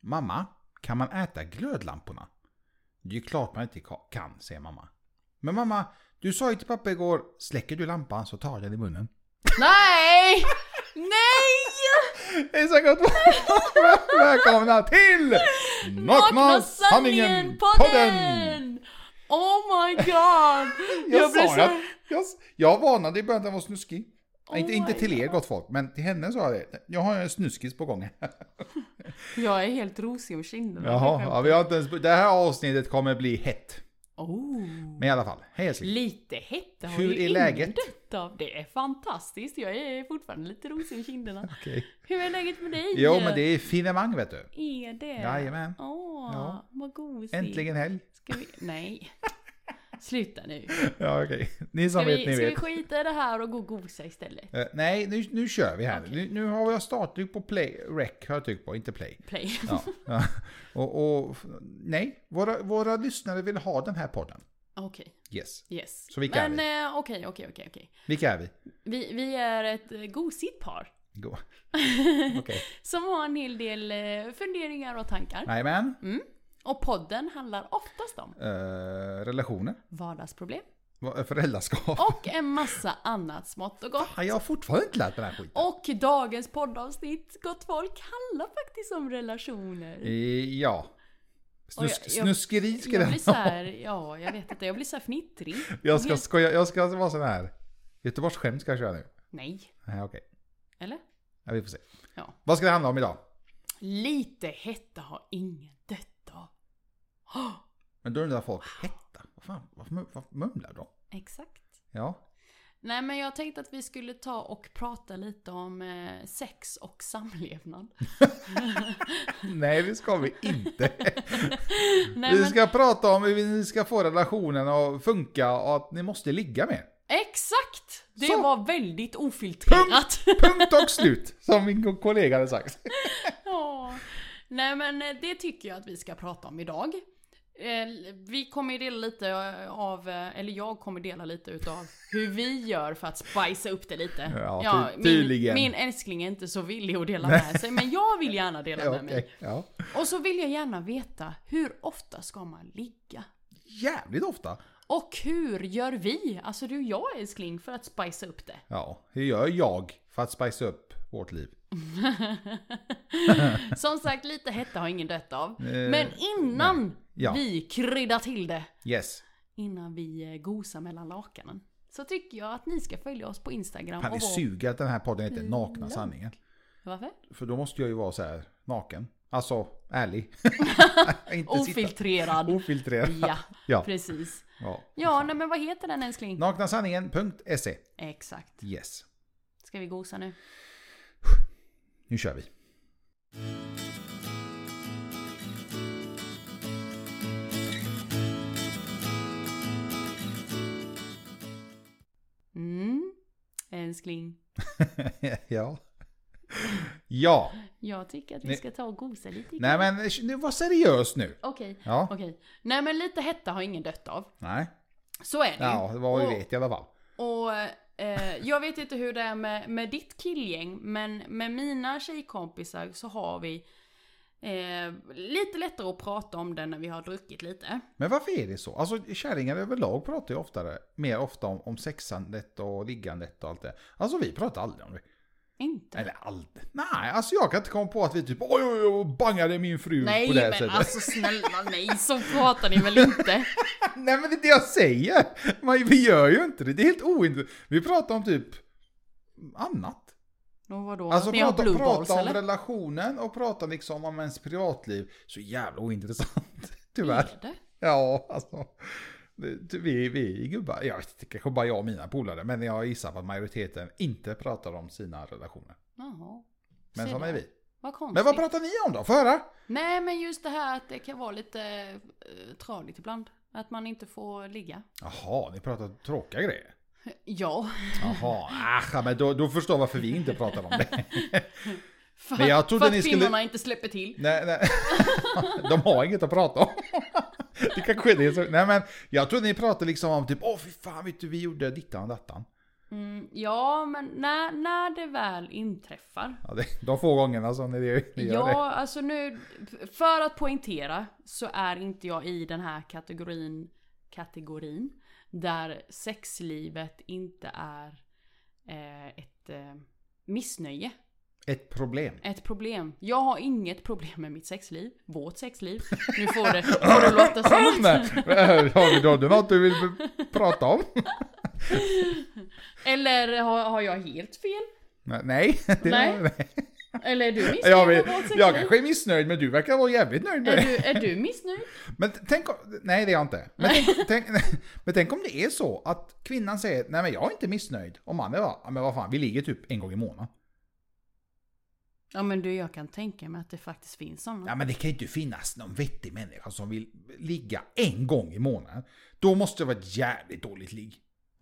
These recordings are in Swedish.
Mamma, kan man äta glödlamporna? Det är klart man inte ka- kan, säger mamma. Men mamma, du sa ju till pappa igår, släcker du lampan så tar jag den i munnen. Nej! Nej! Hejsan gott Välkomna till Vakna sanningen-podden! Oh my god! Jag, Jag jag blev sa så- ju att jag, jag varnade i början att den var snuskig. Oh inte inte my till er gott folk, men till henne sa jag det. Jag har en snuskis på gång. Jag är helt rosig om kinderna. Jaha, ja, vi har inte ens, det här avsnittet kommer bli hett. Oh. Men i alla fall, hej älskling. Lite hett, det har Hur ju är ingen läget? dött av. Det är fantastiskt, jag är fortfarande lite rosig om kinderna. Okej. Hur är läget med dig? Jo, men det är finemang vet du. Är det? Jajamän. Åh, Ja. vad gosig. Äntligen helg. Ska vi... Nej. Sluta nu. Ja, okej. Ni som Ska, vet, vi, ni ska vi vet. skita i det här och gå och gosa istället? Eh, nej, nu, nu kör vi här. Nu, nu har jag starttryck på play. Rec har jag tryckt på, inte play. Play. Ja. ja. och, och nej, våra, våra lyssnare vill ha den här podden. Okej, Yes. yes. Så vilka är Men eh, okej, okej, okej. okej. Vilka är vi? Vi, vi är ett eh, gosigt par. Go. Okej. Som har en hel del eh, funderingar och tankar. Jajamän. Och podden handlar oftast om Eh, relationer. vardagsproblem. Va- eh, Föräldraskap. Och en massa annat smått och gott. Fan, Jag har fortfarande inte lärt mig den här skiten. Och dagens poddavsnitt, gott folk, handlar faktiskt om relationer. Eh, Ja. Snus- Och jag- jag- snuskeri ska Jag den blir så här, ja, jag vet inte, jag blir så här fnittrig. Jag ska Helt- skoja, jag ska vara sån här. Göteborgsskämt ska jag köra nu. Nej, Nej, okej. eller? Ja, vi får se. Ja. Vad ska det handla om idag? Lite hetta har ingen dött av. Åh, Men då undrar folk, hetta? Vad fan, vad, mum- vad mumlar de? exakt. Ja. Nej men jag tänkte att vi skulle ta och prata lite om eh, sex och samlevnad. Nej, det ska vi inte. Nej, vi men, ska prata om hur ni ska få relationen att funka och att ni måste ligga med. Exakt! Det Så. var väldigt ofiltrerat. Punkt och slut, som min kollega hade sagt. Ja. Nej men eh, det tycker jag att vi ska prata om idag. Eh, Vi kommer ju dela lite eh, av, eh, eller jag kommer dela lite utav hur vi gör för att spicea upp det lite. Ja, ty- min, tydligen. min älskling är inte så villig att dela med sig, men jag vill gärna dela Ja, med mig. okej, ja. Och så vill jag gärna veta, hur ofta ska man ligga? Jävligt ofta. Och hur gör vi, alltså du och jag älskling, för att spicea upp det? Ja, hur gör jag för att spice upp vårt liv? Som sagt, lite hetta har ingen dött av. Men innan Eh, Ja. vi kryddar till det, Yes. innan vi eh, gosar mellan lakanen, så tycker jag att ni ska följa oss på Instagram. Fan, det och vår- suger att den här podden heter Nakna sanningen. Varför? För då måste jag ju vara så här naken. Alltså, ärlig. Inte sitta Ofiltrerad. ofiltrerad. Ja, Ja. precis. Ja. Ja, nej, men vad heter den älskling? Naknasanningen.se. Exakt. E. Yes. Ska vi gosa nu? Nu kör vi. Mm. Älskling, ja. Ja. jag tycker att vi Nej. ska ta och gosa lite. ikväll. Nej men nu var seriös nu. Okej, Ja. okej. Nej men lite hetta har ingen dött av. Nej. Så är det ju. Ja, det var Och- vi vet i alla fall. Och eh, jag vet inte hur det är med, med ditt killgäng, men med mina tjejkompisar så har vi eh, lite lättare att prata om det när vi har druckit lite. Men varför är det så? Alltså kärringar överlag pratar ju oftare, mer ofta om, om sexandet och liggandet och allt det. Alltså vi pratar aldrig om det. Inte. Eller aldrig. Nej, alltså jag kan inte komma på att vi typ oj, oj, oj bangade min fru Nej på det här men sättet. alltså snälla nej, så pratar ni väl inte? Nej men det är det jag säger! Man, vi gör ju inte det, det är helt ointressant. Vi pratar om typ annat. Och vadå? Alltså att ni har prata, blue balls prata om eller? relationen och prata liksom om ens privatliv. Så jävla ointressant. Tyvärr. Är det? Ja, alltså. det- Vi, vi är gubbar, jag vet inte, kanske bara jag och mina polare, men jag gissar på att majoriteten inte pratar om sina relationer. Jaha. Men Se såna där. är vi. Vad konstigt. Men vad pratar ni om då? Få höra! Nej men just det här att det kan vara lite eh, tradigt ibland. Att man inte får ligga. Jaha, ni pratar tråkiga grejer. Ja. Jaha, aha, men då, då förstår jag varför vi inte pratar om det. För, Men jag trodde för att ni skulle- kvinnorna inte släpper till. Nej, nej. De har inget att prata om. Det kanske är det. som- Nej men, jag trodde ni pratade liksom om typ, åh fy fan vet du, vi gjorde dittan och dattan. Mm, ja, men när, när det väl inträffar. Ja, det, de få gångerna som ni, ni gör det. Ja, alltså nu, för att poängtera så är inte jag i den här kategorin, kategorin där sexlivet inte är eh, ett eh, missnöje. Ett problem. Ett problem. Jag har inget problem med mitt sexliv. Vårt sexliv. Nu får det, får det låta som att... eh, Har du- har du något du vill b- prata om? Eller har, har jag helt fel? Nej. det- Nej. Eller är du missnöjd Jag, med vill, vårt sexliv? jag kanske är missnöjd men du verkar vara jävligt nöjd med Är det. du, är du missnöjd? Men t- tänk om, nej det är jag inte. Men, tänk, tänk, men tänk om det är så att kvinnan säger nej men jag är inte missnöjd. Och mannen bara, "Ja, men vad fan vi ligger typ en gång i månaden. Ja men du, jag kan tänka mig att det faktiskt finns sådana. Ja men det kan ju inte finnas någon vettig människa som vill ligga en gång i månaden. Då måste det vara ett jävligt dåligt ligg.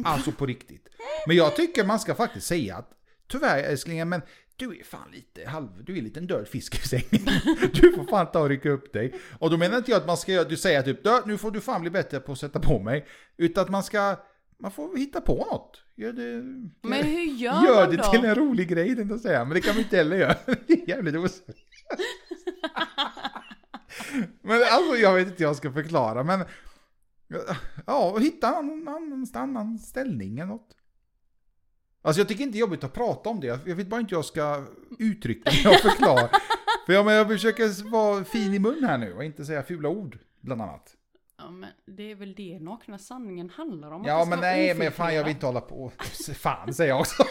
Alltså på riktigt. Men jag tycker man ska faktiskt säga att tyvärr älsklingen men du är fan lite halv, du är en liten död fisk i sängen. Du får fan ta och rycka upp dig. Och då menar inte jag att man ska göra, du säger typ "Dö, nu får du fan bli bättre på att sätta på mig. Utan att man ska, man får hitta på något. Gör det, Men hur gör, gör man det då? till en rolig grej tänkte jag säga, men det kan vi inte heller göra. Det är jävligt oseriöst. Men alltså jag vet inte hur jag ska förklara men... Ja, och hitta någon annan, annan ställning eller något. Alltså jag tycker inte det är jobbigt att prata om det, jag vet bara inte hur jag ska uttrycka mig och förklara. För jag, men jag försöker vara fin i mun här nu och inte säga fula ord, bland annat. Ja men det är väl det nakna sanningen handlar om. att Ja det ska men vara nej men fan jag vill inte hålla på. Fan säger jag också.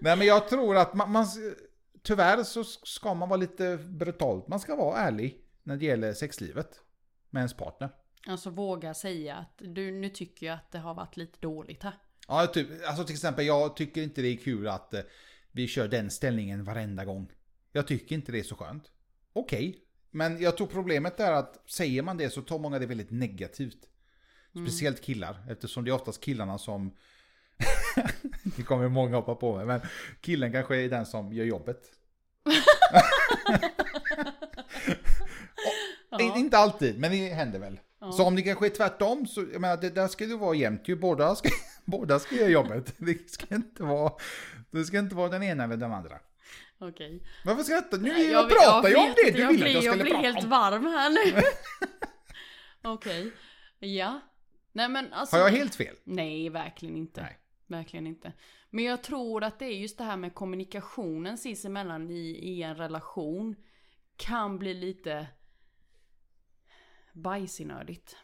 nej men jag tror att man, man... Tyvärr så ska man vara lite brutalt. Man ska vara ärlig när det gäller sexlivet. Med ens partner. ofiltrerat. Alltså våga säga att du, nu tycker jag att det har varit lite dåligt här. Ja, typ, alltså till exempel jag tycker inte det är kul att eh, vi kör den ställningen varenda gång. Jag tycker inte det är så skönt. Okej, men jag tror problemet är att säger man det så tar många det väldigt negativt. Speciellt killar, eftersom det är oftast killarna som... det kommer många hoppa på mig, men killen kanske är den som gör jobbet. Ja. In- Inte alltid, men det händer väl. Ja. Så om det kanske är tvärtom, så, jag menar, det där ska det vara jämnt ju. Båda ska, båda ska göra jobbet. Det ska, inte vara, det ska inte vara den ena eller den andra. Okej. Varför skrattar du? Nu jag, vet- pratar ju om vet det! inte, Du ville att jag skulle blir- Jag blir prata helt om varm här nu. Okej. Ja. Nej men alltså. Har jag helt fel? Nej, verkligen inte. Nej. Verkligen inte. Men jag tror att det är just det här med kommunikationen sinsemellan i, i en relation kan bli lite bajsinödigt.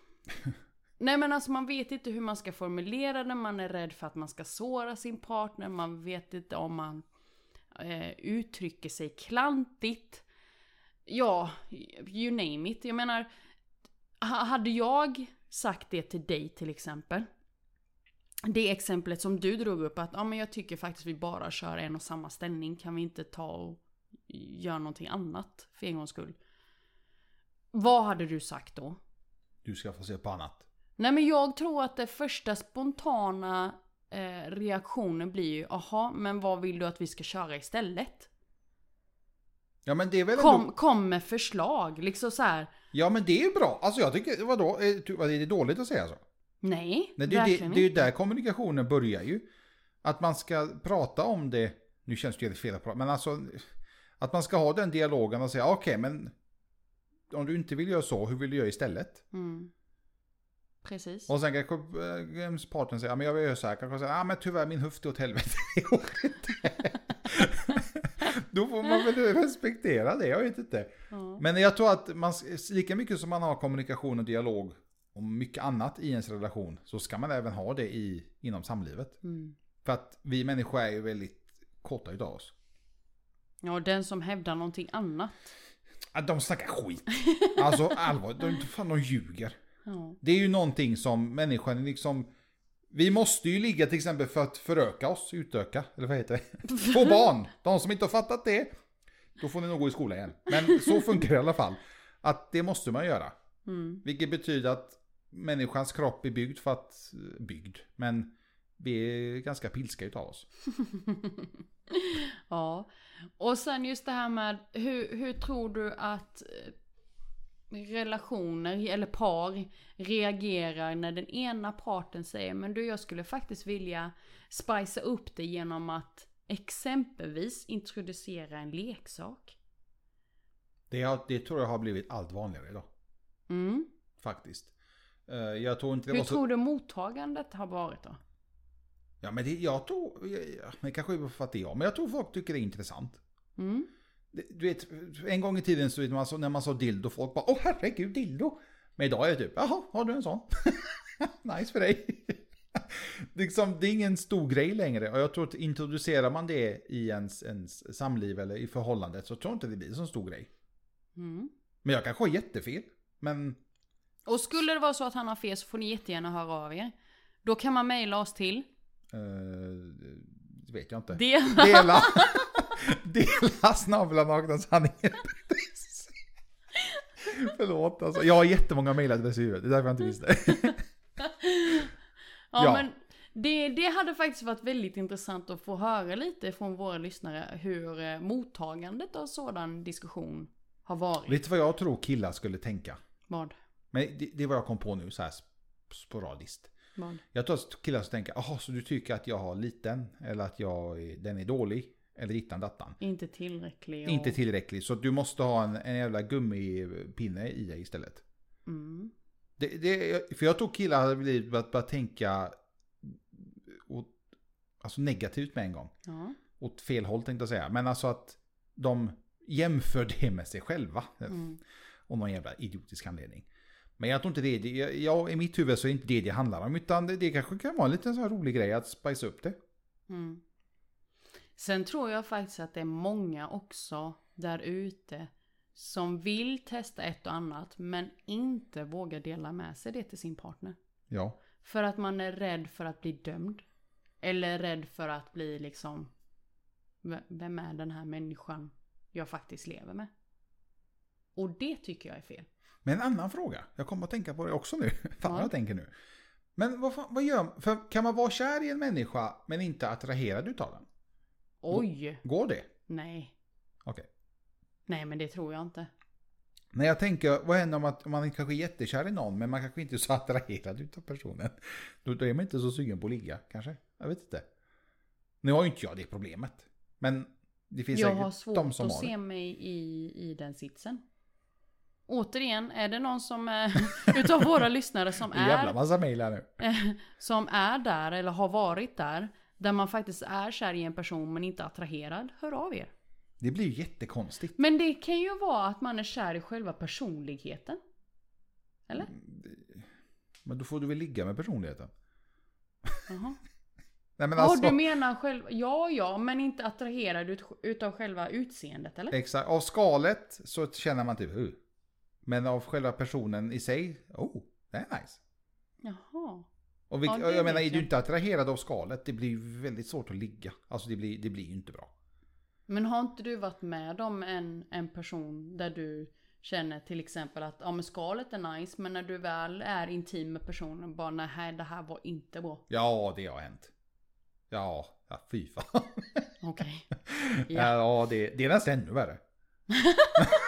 Nej men alltså man vet inte hur man ska formulera det, man är rädd för att man ska såra sin partner, man vet inte om man eh, uttrycker sig klantigt. Ja, you name it. Jag menar, ha- hade jag sagt det till dig till exempel, det exemplet som du drog upp att ja, men jag tycker faktiskt vi bara kör en och samma ställning. Kan vi inte ta och göra någonting annat för en gångs skull? Vad hade du sagt då? Du ska få se på annat. Nej men jag tror att det första spontana eh, reaktionen blir ju aha men vad vill du att vi ska köra istället? Ja men det är väl ändå... Kom, kom med förslag liksom så här. Ja men det är ju bra. Alltså jag tycker, vadå? Är, ty- vad, är det dåligt att säga så? Nej, Nej, det, är ju verkligen det, det är ju inte. där kommunikationen börjar ju. Att man ska prata om det. Nu känns det ju fel att prata, men alltså. Att man ska ha den dialogen och säga okej men. Om du inte vill göra så, hur vill du göra istället? Mm. Precis. Och sen kanske eh, ens partner säger, ja men jag vill göra så här. Kanske säger, ja men tyvärr min höft är åt helvete. Det går inte. Då får man väl respektera det, jag vet inte. Ja. Men jag tror att man, lika mycket som man har kommunikation och dialog och mycket annat i ens relation så ska man även ha det i, inom samlivet. Mm. För att vi människor är ju väldigt korta utav oss. ja, den som hävdar någonting annat. Att de snackar skit. Alltså allvarligt, de, fan de ljuger. Ja. Det är ju någonting som människan liksom... Vi måste ju ligga till exempel för att föröka oss, utöka, eller vad heter det? Få barn! De som inte har fattat det, då får ni nog gå i skola igen. Men så funkar det i alla fall. Att det måste man göra. Mm. Vilket betyder att människans kropp är byggd för att... Byggd. Men vi är ganska pilska utav oss. Ja. Och sen just det här med hur, hur tror du att eh, relationer eller par reagerar när den ena parten säger men du jag skulle faktiskt vilja spicea upp det genom att exempelvis introducera en leksak. Det, har, det tror jag har blivit allt vanligare idag. Mm. Faktiskt. Eh, Jag tror inte det Hur var så... tror du mottagandet har varit då? Ja, men det, jag tror... ja, ja, Men kanske är för att det är jag. Men jag tror folk tycker det är intressant. Mm. Det- Du vet, en gång i tiden så vet man, så- när man sa dildo, folk bara åh herregud dildo. Men idag är det typ, jaha, har du en sån? nice för dig. liksom, det är ingen stor grej längre. Och jag tror att introducerar man det i ens, ens samliv eller i förhållandet så tror jag inte det blir en sån stor grej. Mm. Men jag kanske har jättefel. Men Och skulle det vara så att han har fel så får ni jättegärna höra av er. Då kan man mejla oss till eh, det vet jag inte. det. Dela, dela snabelanaknassanningen.se Förlåt alltså. Jag har jättemånga mejladresser i huvudet. Det är därför jag inte visste. Ja, Ja. men det, det hade faktiskt varit väldigt intressant att få höra lite från våra lyssnare hur eh, mottagandet av sådan diskussion har varit. Vet du vad jag tror killar skulle tänka? Vad? Men det, det är vad jag kom på nu så här sp- sporadiskt. Vad? Jag tror att killar skulle tänka, jaha så du tycker att jag har liten? Eller att jag, är- den är dålig? Eller dittan dattan. Inte tillräcklig. Och... Inte tillräckligt, så att du måste ha en, en jävla gummipinne i dig istället. Mm. Det, det, för jag tror killar hade blivit börjat, börjat tänka åt, alltså negativt med en gång. Ja. Åt fel håll tänkte jag säga. Men alltså att de jämför det med sig själva. Mm. Om någon jävla idiotisk anledning. Men jag tror inte det, det jag, jag, i mitt huvud så är inte det det handlar om. Utan det, det kanske kan vara en liten sån här rolig grej att spicea upp det. Mm. Sen tror jag faktiskt att det är många också där ute som vill testa ett och annat men inte vågar dela med sig det till sin partner. Ja. För att man är rädd för att bli dömd. Eller rädd för att bli liksom... "V- Vem är den här människan jag faktiskt lever med? Och det tycker jag är fel. Men en annan fråga. Jag kommer att tänka på det också nu. Fan vad Ja. jag tänker nu. Men vad, fan, vad gör för Kan man vara kär i en människa men inte attraherad utav den? Oj! Går det? Nej. Okej. Nej men det tror jag inte. Nej, jag tänker, vad händer om att om man kanske är jättekär i någon men man kanske inte är så attraherad utav personen? Då, då är man inte så sugen på att ligga kanske? Jag vet inte. Nu har ju inte jag det problemet. Men det finns Jag säkert har svårt de som att har se det. mig i, i den sitsen. Återigen, är det någon som eh, utav våra lyssnare som Det är jävla är, massa mejl här nu. som är där eller har varit där. Där man faktiskt är kär i en person men inte attraherad. Hör av er. Det blir ju jättekonstigt. Men det kan ju vara att man är kär i själva personligheten. Eller? Mm. Men då får du väl ligga med personligheten? Jaha. Nej men Ja, alltså. du menar själva... Ja, ja, men inte attraherad ut, utav själva utseendet, eller? Exakt. Av skalet så känner man typ uh. Men av själva personen i sig, oh, det är nice. Jaha. Och vilk- Ja, det jag menar, vet är du jag. inte attraherad av skalet, det blir ju väldigt svårt att ligga. Alltså det blir, det blir ju inte bra. Men har inte du varit med om en, en person där du känner till exempel att ja, men skalet är nice, men när du väl är intim med personen bara nej, det här var inte bra. Ja, det har hänt. Ja, ja fy fan. Okej. Ja. Ja, det, det är nästan ännu värre.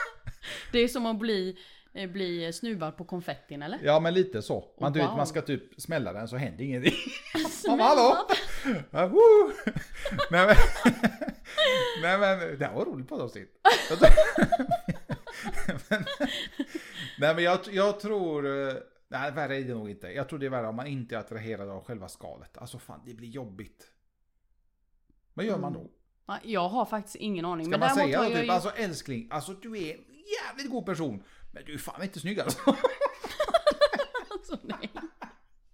Det är som att bli, eh, bli snuvad på konfettin, eller? Ja, men lite så. Man, du vet, Wow. man ska typ smälla den så händer ingenting. Man bara, hallå! Ja, woo! Nej men, nej men, det här var roligt poddavsnitt. Jag tror- Men- Nej men jag, jag tror, eh, nej värre är det nog inte. Jag tror det är värre om man inte är attraherad av själva skalet. Alltså fan, det blir jobbigt. Vad gör man då? Ja, Jag har faktiskt ingen aning. Ska man däremot säga har då jag typ, ju- alltså älskling, alltså du är en jävligt god person. Men du är fan inte snygg alltså. Alltså, nej.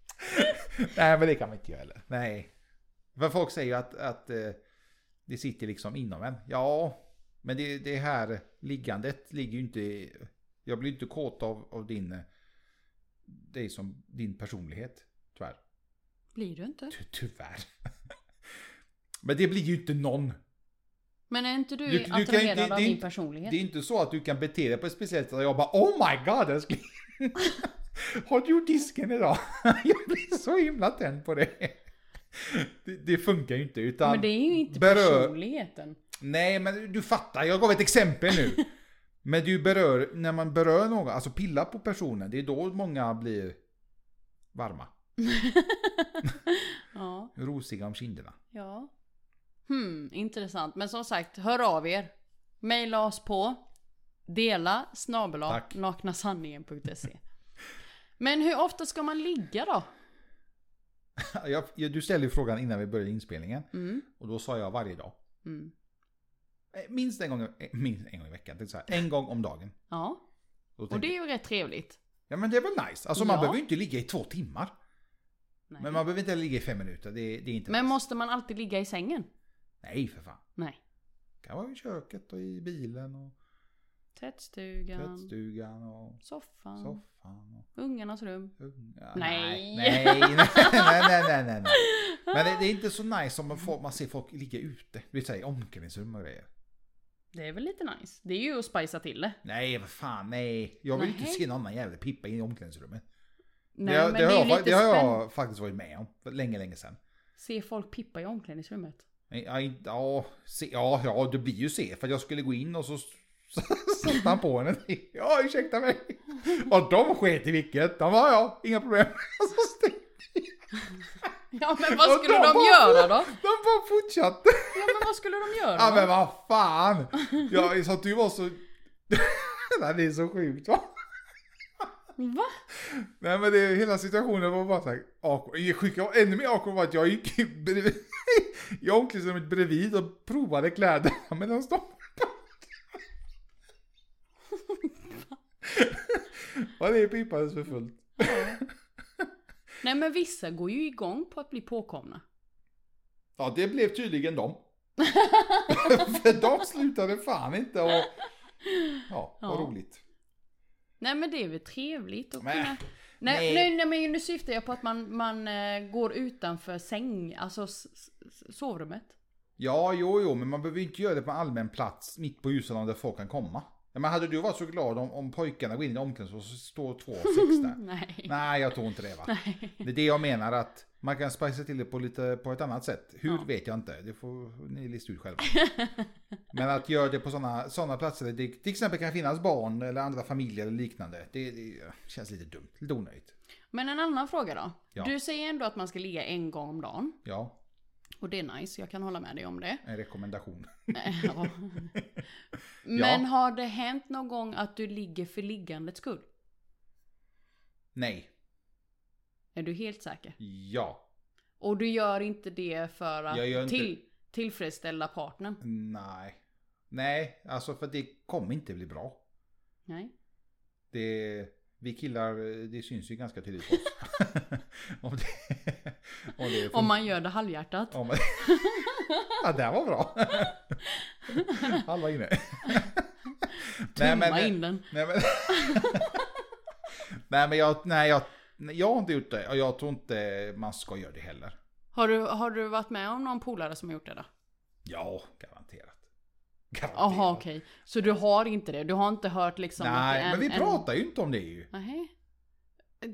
Nej men det kan man inte göra heller. Nej. För folk säger ju att, att eh, det sitter liksom inom en. Ja, men det, det här liggandet ligger ju inte... i- Jag blir inte kåt av, av din... eh, Dig som din personlighet. Tyvärr. Blir du inte? Ty, tyvärr. men det blir ju inte någon. Men är inte du, Du- du kan ju inte- attraherad det är av din inte- personlighet? Det är inte så att du kan bete dig på ett speciellt sätt och jag bara Oh my god älskling! Har du gjort disken idag? jag blir så himla tänd på det. det. Det funkar ju inte utan... Men det är ju inte berör- personligheten. Nej men du fattar, jag gav ett exempel nu. Men du berör, när man berör någon, alltså pillar på personen, det är då många blir varma. ja. Rosiga om kinderna. Ja. Hmm, intressant. Men som sagt, hör av er. Maila oss på dela snabel Tack. naknasanningen.se Men hur ofta ska man ligga då? Jag, jag, du ställde ju frågan innan vi började inspelningen. Mm. Och då sa jag varje dag. Mm. Eh, Minst en gång, eh, minst en gång i veckan. tänkte Så här, en gång om dagen. Ja, Då och tänkte det är jag, ju rätt trevligt. Ja men det är väl nice. Alltså man Ja. behöver ju inte ligga i två timmar. Nej. Men man behöver inte ligga i fem minuter. Det, det är inte Men nice. måste man alltid ligga i sängen? Nej för fan. Nej. Det kan vara i köket och i bilen och Tvättstugan, tvättstugan och soffan, soffan. Och... ungarnas rum. unga. Nej. Nej, nej, nej, nej, nej, nej, nej. Men det, det är inte så nice om man, får, man ser folk ligga ute. Vi säger omklädningsrum och grejer. Det är väl lite nice. Det är ju att spicea till det. Nej, vad fan, nej. Jag vill inte Nej. se någon annan jävla pippa in i omklädningsrummet. Nej, det, men det, det, har är jag, ju fa- lite det har spännande. jag faktiskt varit med om. För länge, länge sedan. Se folk pippa i omklädningsrummet. Nej, Ja, inte- ja, se, ja, ja, det blir ju se. För jag skulle gå in och så s- satte han på henne. Ja, ursäkta mig. Och de sket i vilket. De var ja, inga problem. Och så stängde- Ja men vad Och skulle de de bara- göra då? De bara fortsatte. Ja men vad skulle de göra Ja då? men vad fan! Jag, så att du var så... Nej, det är så sjukt va? Va? Nej men det, hela situationen var bara såhär awkward. Sjuka, ännu mer awkward var att jag gick i bredvid, i omklädningsrummet bredvid och provade kläderna men de stoppade. Och det pipades för fullt. Nej men vissa går ju igång på att bli påkomna. Ja det blev tydligen dem. för de slutade fan inte och... Ja, vad Ja. roligt. Nej men det är väl trevligt att Men, kunna... nej. Nej, nej. nej men nu syftar jag på att man, man eh, går utanför säng, alltså s- s- sovrummet. Ja, jo, jo, men man behöver ju inte göra det på en allmän plats mitt på ljusan där folk kan komma. Ja, men hade du varit så glad om, om pojkarna går in i omklädningsrummet och så står två och sex där? Nej. Nej, jag tror inte det va. Det är det jag menar att man kan spicea till det på, lite, på ett annat sätt. Hur Ja. vet jag inte, det får ni lista ut själva. men att göra det på sådana såna platser där det till exempel kan finnas barn eller andra familjer eller liknande. Det, det känns lite dumt, lite onödigt. Men en annan fråga då. Ja. Du säger ändå att man ska ligga en gång om dagen. Ja, Och det är nice, jag kan hålla med dig om det. en rekommendation. Eh, ja. Men har det hänt någon gång att du ligger för liggandets skull? Nej, Är du helt säker? ja, Och du gör inte det för att Jag gör inte- till, tillfredsställa partnern? nej. Nej, alltså för det kommer inte bli bra. Nej. Det, vi killar, det syns ju ganska tydligt på oss. om, det, om, det Om man gör det halvhjärtat. om man- ja, det här var bra. Halva inne. Tumma in den. Nej men, nej, men jag, nej, jag, nej, jag har inte gjort det och jag tror inte man ska göra det heller. Har du, har du varit med om någon polare som har gjort det då? Ja, garanterat. Garanterat. Jaha okej. Så du har inte det? Du har inte hört liksom att det Nej, är men en- vi en- pratar ju inte om det ju. Nej.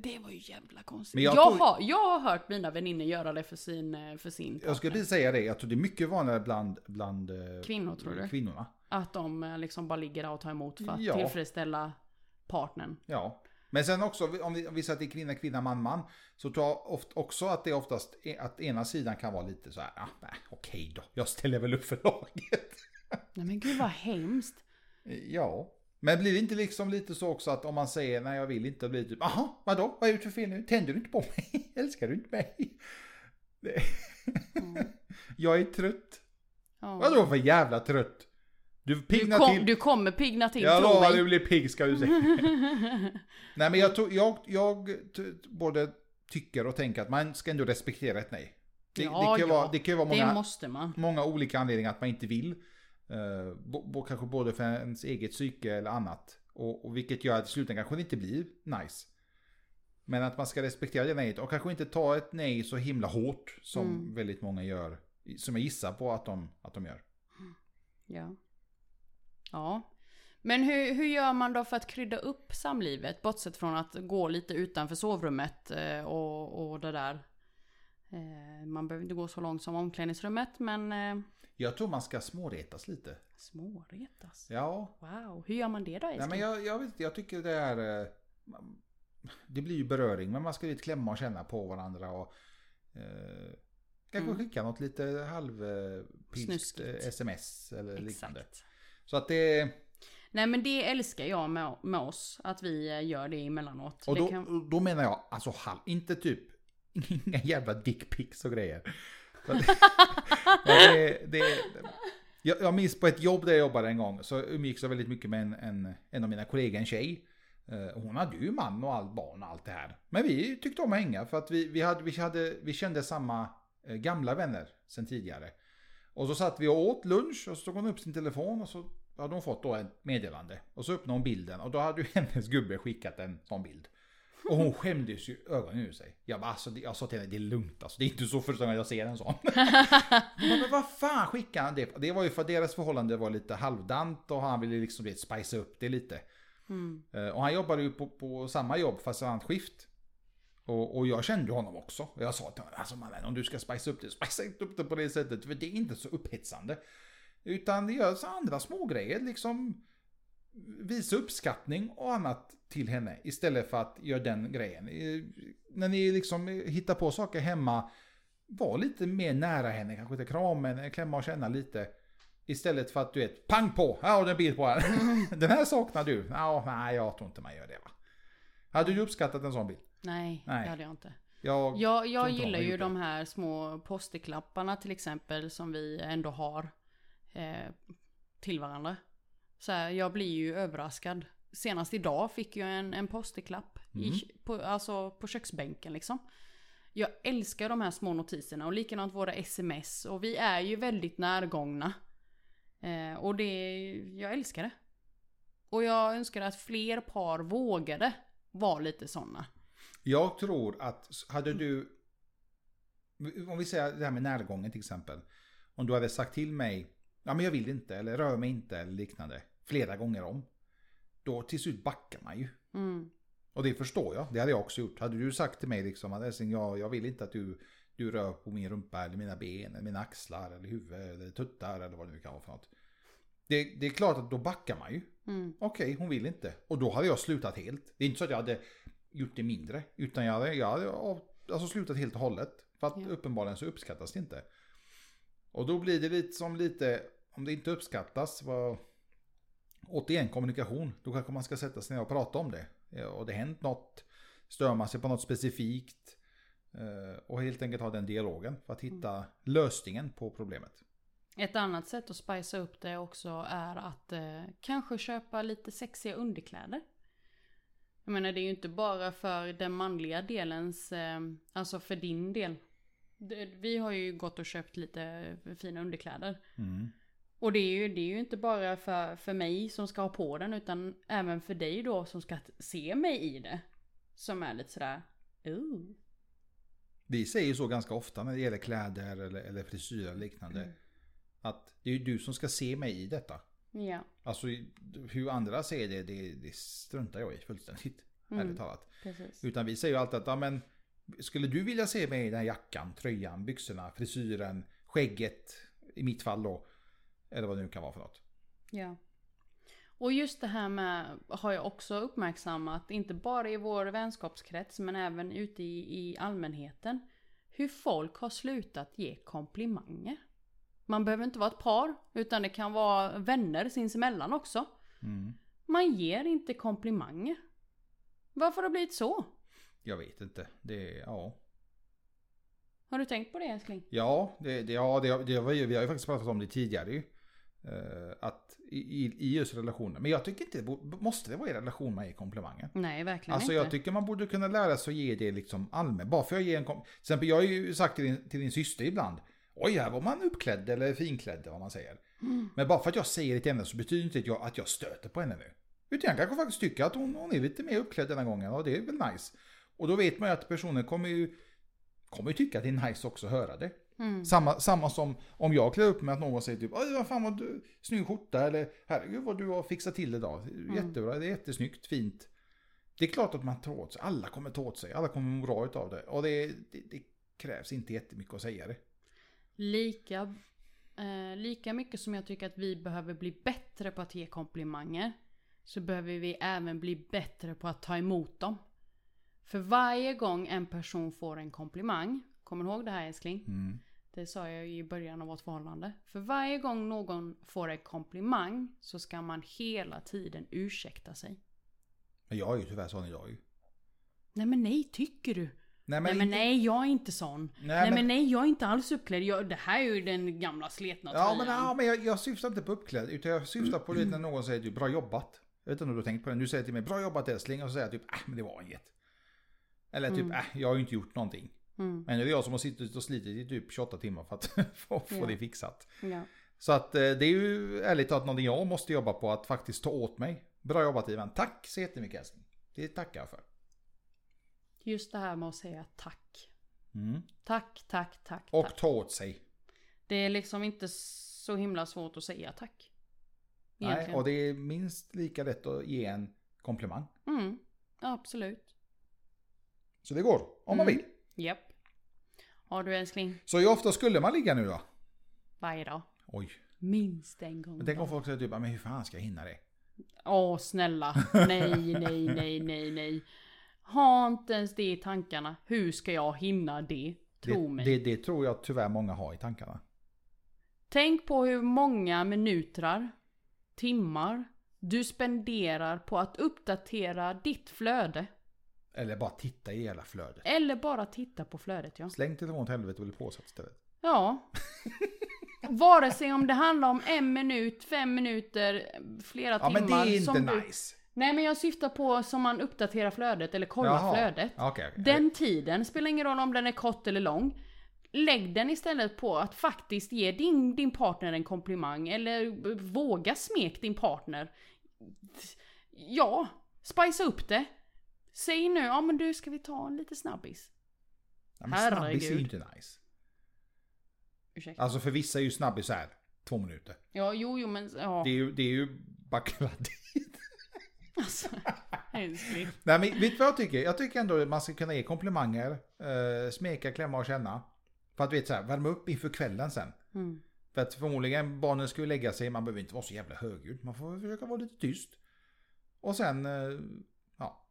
Det var ju jävla konstigt. Men jag, jag tror- har, jag har hört mina vänner göra det för sin, eh, för sin partner. Jag skulle precis säga det, jag tror det är mycket vanligare bland, bland eh, Kvinnor, tror du? kvinnorna. Att de eh, liksom bara ligger där och tar emot för att Ja. tillfredsställa partnern. Ja. Men sen också, om vi, om vi säger att det är kvinna, kvinna, man, man. Så tror jag oft, också att det är oftast e- att ena sidan kan vara lite så här, ah, nej, okej då, jag ställer väl upp för laget. Nej men gud vad hemskt. Ja. Men blir det inte liksom lite så också att om man säger nej jag vill inte, blir det typ, aha, vadå, vad har jag gjort för fel nu? Tänder du inte på mig? Älskar du inte mig? Det- Mm. jag är trött. Ja. Vadå för jävla trött? Du Du, piggnar till. kom, du kommer pigna till, Jag tro lovar, mig. du blir pigg ska du se. nej men jag, tror- jag, jag t- både tycker och tänker att man ska ändå respektera ett nej. Det, Ja, det, kan, ju ja. vara, det kan ju vara många, Det måste man. många olika anledningar att man inte vill. Eh, bo, bo, kanske både för ens eget psyke eller annat. Och, och vilket gör att i slutändan kanske det inte blir nice. Men att man ska respektera det nejet och kanske inte ta ett nej så himla hårt som Mm. väldigt många gör. Som jag gissar på att de, att de gör. Ja. Ja. Men hur, hur gör man då för att krydda upp samlivet? Bortsett från att gå lite utanför sovrummet eh, och, och det där. Eh, Man behöver inte gå så långt som omklädningsrummet men eh, Jag tror man ska småretas lite. Småretas. Ja, Wow, hur gör man det då nej, Eskil? men jag, jag, vet, inte, jag tycker det är... eh, man- Det blir ju beröring, men man ska lite klämma och känna på varandra och... Eh, kanske Mm. skicka något lite halvpilskt Snuskigt. eh, sms eller liknande. Exakt. Så att det... Nej men det älskar jag med, med oss, att vi eh, gör det emellanåt. Och det då, kan, då menar jag alltså halv, inte typ inga jävla dickpics och grejer. Så att- Ja, det, det, jag, jag minns på ett jobb där jag jobbade en gång så umgicks jag väldigt mycket med en, en, en av mina kollegor, en tjej. Eh, Hon hade ju man och allt barn och allt det här. Men vi tyckte om att hänga för att vi, vi, hade, vi, hade, vi kände samma eh, gamla vänner sen tidigare. Och så satt vi och åt lunch och så tog hon upp sin telefon och så hade hon fått då ett meddelande. Och så öppnade hon bilden och då hade ju hennes gubbe skickat en sån bild. Och hon skämdes ju ögonen ur sig. Jag bara, alltså, det- jag sa till henne, det är lugnt alltså. Det är inte så första gången jag ser en sån. Hon bara, men vad fan skickade han det? Det var ju för att deras förhållande var lite halvdant och han ville liksom du vet, spicea upp det lite. mm, Eh, Och han jobbade ju på, på samma jobb fast ett annat skift. Och, och jag kände ju honom också. Och Jag sa till honom, alltså mannen om du ska spicea upp det, spicea inte upp det på det sättet. För det är inte så upphetsande. Utan det görs andra smågrejer liksom. Visa uppskattning och annat till henne istället för att göra den grejen. Eh, När ni liksom hittar på saker hemma, var lite mer nära henne. Kanske inte krama henne, klämma och känna lite. Istället för att du vet, pang på! Här har du en bild på henne. Den här saknar du. Ja, nej, jag tror inte man gör det va. Hade du uppskattat en sån bild? nej, Nej. det hade jag inte. Jag, Jag, tror jag inte gillar har ju gjort de här små posterklapparna till exempel som vi ändå har eh, till varandra. Så här, jag blir ju överraskad. Senast idag fick jag en, en posterklapp i, på, alltså på köksbänken liksom. Jag älskar de här små notiserna och likadant våra sms och vi är ju väldigt närgångna. Eh, och det, jag älskar det. Och jag önskar att fler par vågade vara lite sådana. jag tror att, hade du... Om vi säger det här med närgången till exempel. Om du hade sagt till mig, ja men jag vill inte, eller rör mig inte, eller liknande. Flera gånger om. Då till slut backar man ju. Mm. Och det förstår jag, det hade jag också gjort. Hade du sagt till mig liksom att "Älskling, jag, jag vill inte att du, du rör på min rumpa eller mina ben eller mina axlar eller huvud eller tuttar eller vad det nu kan vara för något. Det, det är klart att då backar man ju. Mm. Okej, hon vill inte. Och då hade jag slutat helt. Det är inte så att jag hade gjort det mindre. Utan jag hade, jag hade av- alltså slutat helt och hållet. För att Ja. uppenbarligen så uppskattas det inte. Och då blir det lite som lite, om det inte uppskattas, vad... Återigen kommunikation, då kanske man ska sätta sig ner och prata om det. Ja, Och det har hänt något, stör man sig på något specifikt. eh, Och helt enkelt ha den dialogen för att hitta lösningen på problemet. Ett annat sätt att spicea upp det också är att eh, kanske köpa lite sexiga underkläder. Jag menar det är ju inte bara för den manliga delens, eh, alltså för din del. Det- Vi har ju gått och köpt lite eh, fina underkläder. Mm. Och det är ju, det är ju inte bara för, för mig som ska ha på den utan även för dig då som ska t- se mig i det. Som är lite sådär, ooh. Vi säger ju så ganska ofta när det gäller kläder eller, eller frisyr och liknande. Att det är ju du som ska se mig i detta. Ja, Alltså hur andra ser det, det, det struntar jag i fullständigt. Ärligt talat. precis. Utan vi säger ju alltid att ja, men, skulle du vilja se mig i den här jackan, tröjan, byxorna, frisyren, skägget. I mitt fall då. Eller vad det nu kan vara för något. Ja. Och just det här med har jag också uppmärksammat, inte bara i vår vänskapskrets men även ute i, i allmänheten. Hur folk har slutat ge komplimanger. Man behöver inte vara ett par, utan det kan vara vänner sinsemellan också. Mm. Man ger inte komplimanger. Varför har det blivit så? Jag vet inte. Det, ja. Har du tänkt på det älskling? Ja, det, det, ja det, det var ju, vi har ju faktiskt pratat om det tidigare ju. Eh, Att i, i- i just relationer. Men jag tycker inte det bo- måste det vara i relation man ger komplimanger. Nej, verkligen Alltså inte. jag tycker man borde kunna lära sig att ge det liksom allmänt. Bara för jag ger en kom- Till exempel jag har ju sagt till din, till din syster ibland. Oj, här var man uppklädd eller finklädd eller vad man säger. Mm. Men bara för att jag säger det till henne så betyder inte att jag, att jag stöter på henne nu. Utan jag kanske faktiskt tycker att hon, hon är lite mer uppklädd denna gången och det är väl nice. Och då vet man ju att personen kommer ju, kommer ju tycka att det är nice också att höra det. Mm. Samma, samma som om jag klär upp mig att någon säger typ Oj, vad fan vad du, snygg skjorta eller herregud vad du har fixat till idag. Mm. Jättebra, det är jättesnyggt, fint. Det är klart att man tar åt sig, alla kommer ta åt sig, alla kommer må bra utav det. Och det, det, det krävs inte jättemycket att säga det. Lika Eh, lika mycket som jag tycker att vi behöver bli bättre på att ge komplimanger. Så behöver vi även bli bättre på att ta emot dem. För varje gång en person får en komplimang. Kommer du ihåg det här älskling? Mm. Det sa jag ju i början av vårt förhållande. För varje gång någon får en komplimang så ska man hela tiden ursäkta sig. Men jag är ju tyvärr sån idag ju. Nej men nej, tycker du? Nej nej men inte- nej, jag är inte sån. Nej, men- men... nej, jag är inte alls uppklädd. Jag, det här är ju den gamla sletna Ja men, tröjan. ja, men jag, jag syftar inte på uppklädd utan jag syftar på lite när någon säger typ bra jobbat. Jag vet inte om du har tänkt på det. Du säger till mig bra jobbat älskling och så säger jag typ äh, men det var inget. Eller typ äh, jag har ju inte gjort någonting. Mm. Men det är jag som har suttit och slitit i typ 28 timmar för att få, få Ja. det fixat. Ja. Så att eh, det är ju ärligt talat någonting jag måste jobba på att faktiskt ta åt mig. Bra jobbat Ivan. Tack så jättemycket älskling. Det tackar jag för. Just det här med att säga tack. Mm. Tack, tack, tack, Och tack. ta åt sig. Det är liksom inte så himla svårt att säga tack. Nej, och det är minst lika lätt att ge en komplimang. Mm, absolut. Så det går, om man Mm. vill. Japp. Har du älskling? Så hur ofta skulle man ligga nu då? Varje dag. Oj. Minst en gång. Men tänk om dagen. folk säger typ, men hur fan ska jag hinna det? Åh snälla. Nej, nej, nej, nej, nej. Ha inte ens det i tankarna. Hur ska jag hinna det? Tro Det, mig. det, det tror jag tyvärr många har i tankarna. Tänk på hur många minuter, timmar, du spenderar på att uppdatera ditt flöde. Eller bara titta i hela flödet. Eller bara titta på flödet ja. Släng telefonen åt helvete och bli påsatt istället. Ja. Vare sig om det handlar om en minut, fem minuter, flera Ja timmar. men det är inte som du- nice. Nej men jag syftar på som man uppdaterar flödet eller kollar Jaha. flödet. Okej. okej. Den tiden, spelar ingen roll om den är kort eller lång. Lägg den istället på att faktiskt ge din, din partner en komplimang eller b- våga smek din partner. Ja, spicea upp det. Säg nu, ja men du ska vi ta en lite snabbis? Ja, men snabbis är ju herregud. inte nice. Ursäkta. Alltså för vissa är ju snabbis här två minuter. Ja, jo, jo men ja. Det är ju, det är ju bara kladdigt. Alltså, älskling. Nej men vet du vad jag tycker? Jag tycker ändå att man ska kunna ge komplimanger, eh, smeka, klämma och känna. För att du vet så här, värma upp inför kvällen sen. Mm. För att förmodligen barnen ska ju lägga sig, man behöver inte vara så jävla högljudd. Man får försöka vara lite tyst. Och sen, eh, ja.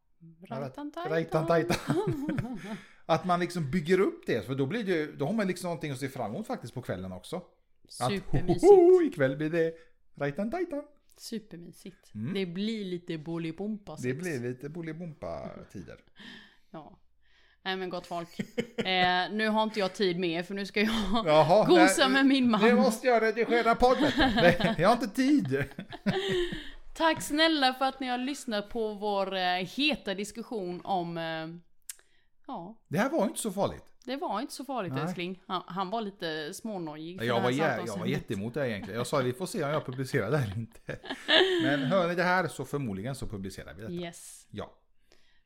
Rajtan-tajtan. Rajtan-tajtan. att man liksom bygger upp det, för då blir det ju, då har man liksom någonting att se fram emot faktiskt på kvällen också. Att, Supermysigt. ikväll blir det rajtan tajtan. Supermysigt. Mm. Det blir lite bolibompa Det blir lite Bolibompa-tider. Ja. Nej men gott folk. eh, nu har inte jag tid med er, för nu ska jag Jaha, gosa nej, med min man. Nu måste jag redigera podden. Nej, jag har inte tid. Tack snälla för att ni har lyssnat på vår eh, heta diskussion om... Eh, ja, Det här var ju inte så farligt. det var inte så farligt Nej. älskling. Han, han var lite smånojig. för det Jag här var, jä- jag var samtalsämnet. jättemot det här egentligen. Jag sa vi får se om jag publicerar det här inte. Men hör ni det här så förmodligen så publicerar vi detta. Yes. Ja.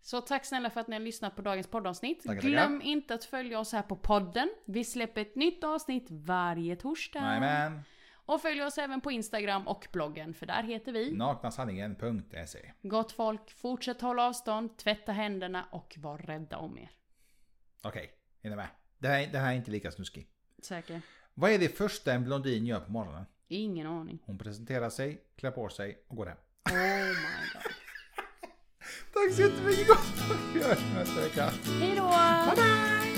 Så tack snälla för att ni har lyssnat på dagens poddavsnitt. Tackar, tackar. Glöm inte att följa oss här på podden. Vi släpper ett nytt avsnitt varje torsdag. Nej men. Och följ oss även på Instagram och bloggen, för där heter vi... Naknasanningen.se Gott folk, fortsätt hålla avstånd, tvätta händerna och var rädda om er. Okej, är ni med? Det här, det här är inte lika snuskigt. Säker? Vad är det första en blondin gör på morgonen? Ingen aning. Hon presenterar sig, klär på sig och går hem. Oh my god. Tack så jättemycket gott folk! Vi hörs nästa vecka. Hej då! Bye bye!